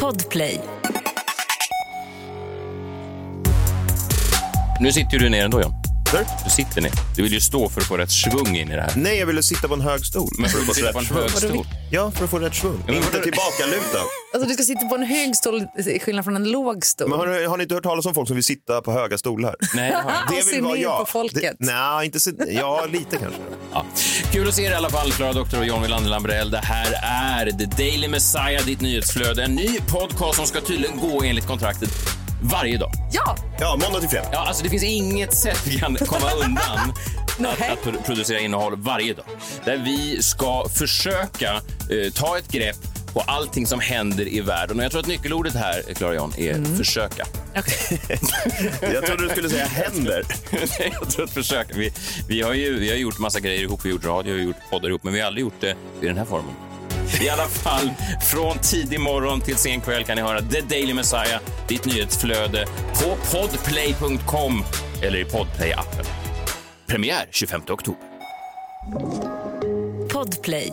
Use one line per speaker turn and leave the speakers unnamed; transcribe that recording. Podplay.
Nu sitter ju du ner ändå, John. Du sitter ner. Du vill ju stå för att få rätt svung in i det här.
Nej, jag ville sitta på en hög stol.
Men för att få sitta på en hög stol.
Ja, för att få rätt svung.
men
Inte
vadå?
tillbakalutad.
Alltså du ska sitta på en hög stol i skillnad från en låg stol.
Men har, ni- har ni inte hört talas om folk som vill sitta på höga stolar?
Nej, det har jag inte.
Och se ner på folket.
Det, nej, inte se, ja, lite kanske.
Ja. Kul att se er i alla fall, Klara Doktor och John Wilander Lambrell. Det här är The Daily Messiah, ditt nyhetsflöde. En ny podcast som ska tydligen gå enligt kontraktet varje dag.
Ja,
Ja, måndag till fredag.
Ja, alltså det finns inget sätt vi kan komma undan att,
Nej.
att pro- producera innehåll varje dag. Där vi ska försöka eh, ta ett grepp på allting som händer i världen. Och jag tror att nyckelordet här, eh, Klara John, är försöka.
Jag trodde du skulle säga händer.
Nej, jag tror att försöka. Vi, vi, har ju, vi har gjort massa grejer ihop, vi har gjort radio, vi har gjort poddar ihop, men vi har aldrig gjort det i den här formen. I alla fall, från tidig morgon till sen kväll kan ni höra The Daily Messiah, ditt nyhetsflöde på podplay.com eller i Podplay-appen. Premiär 25 oktober.
Podplay.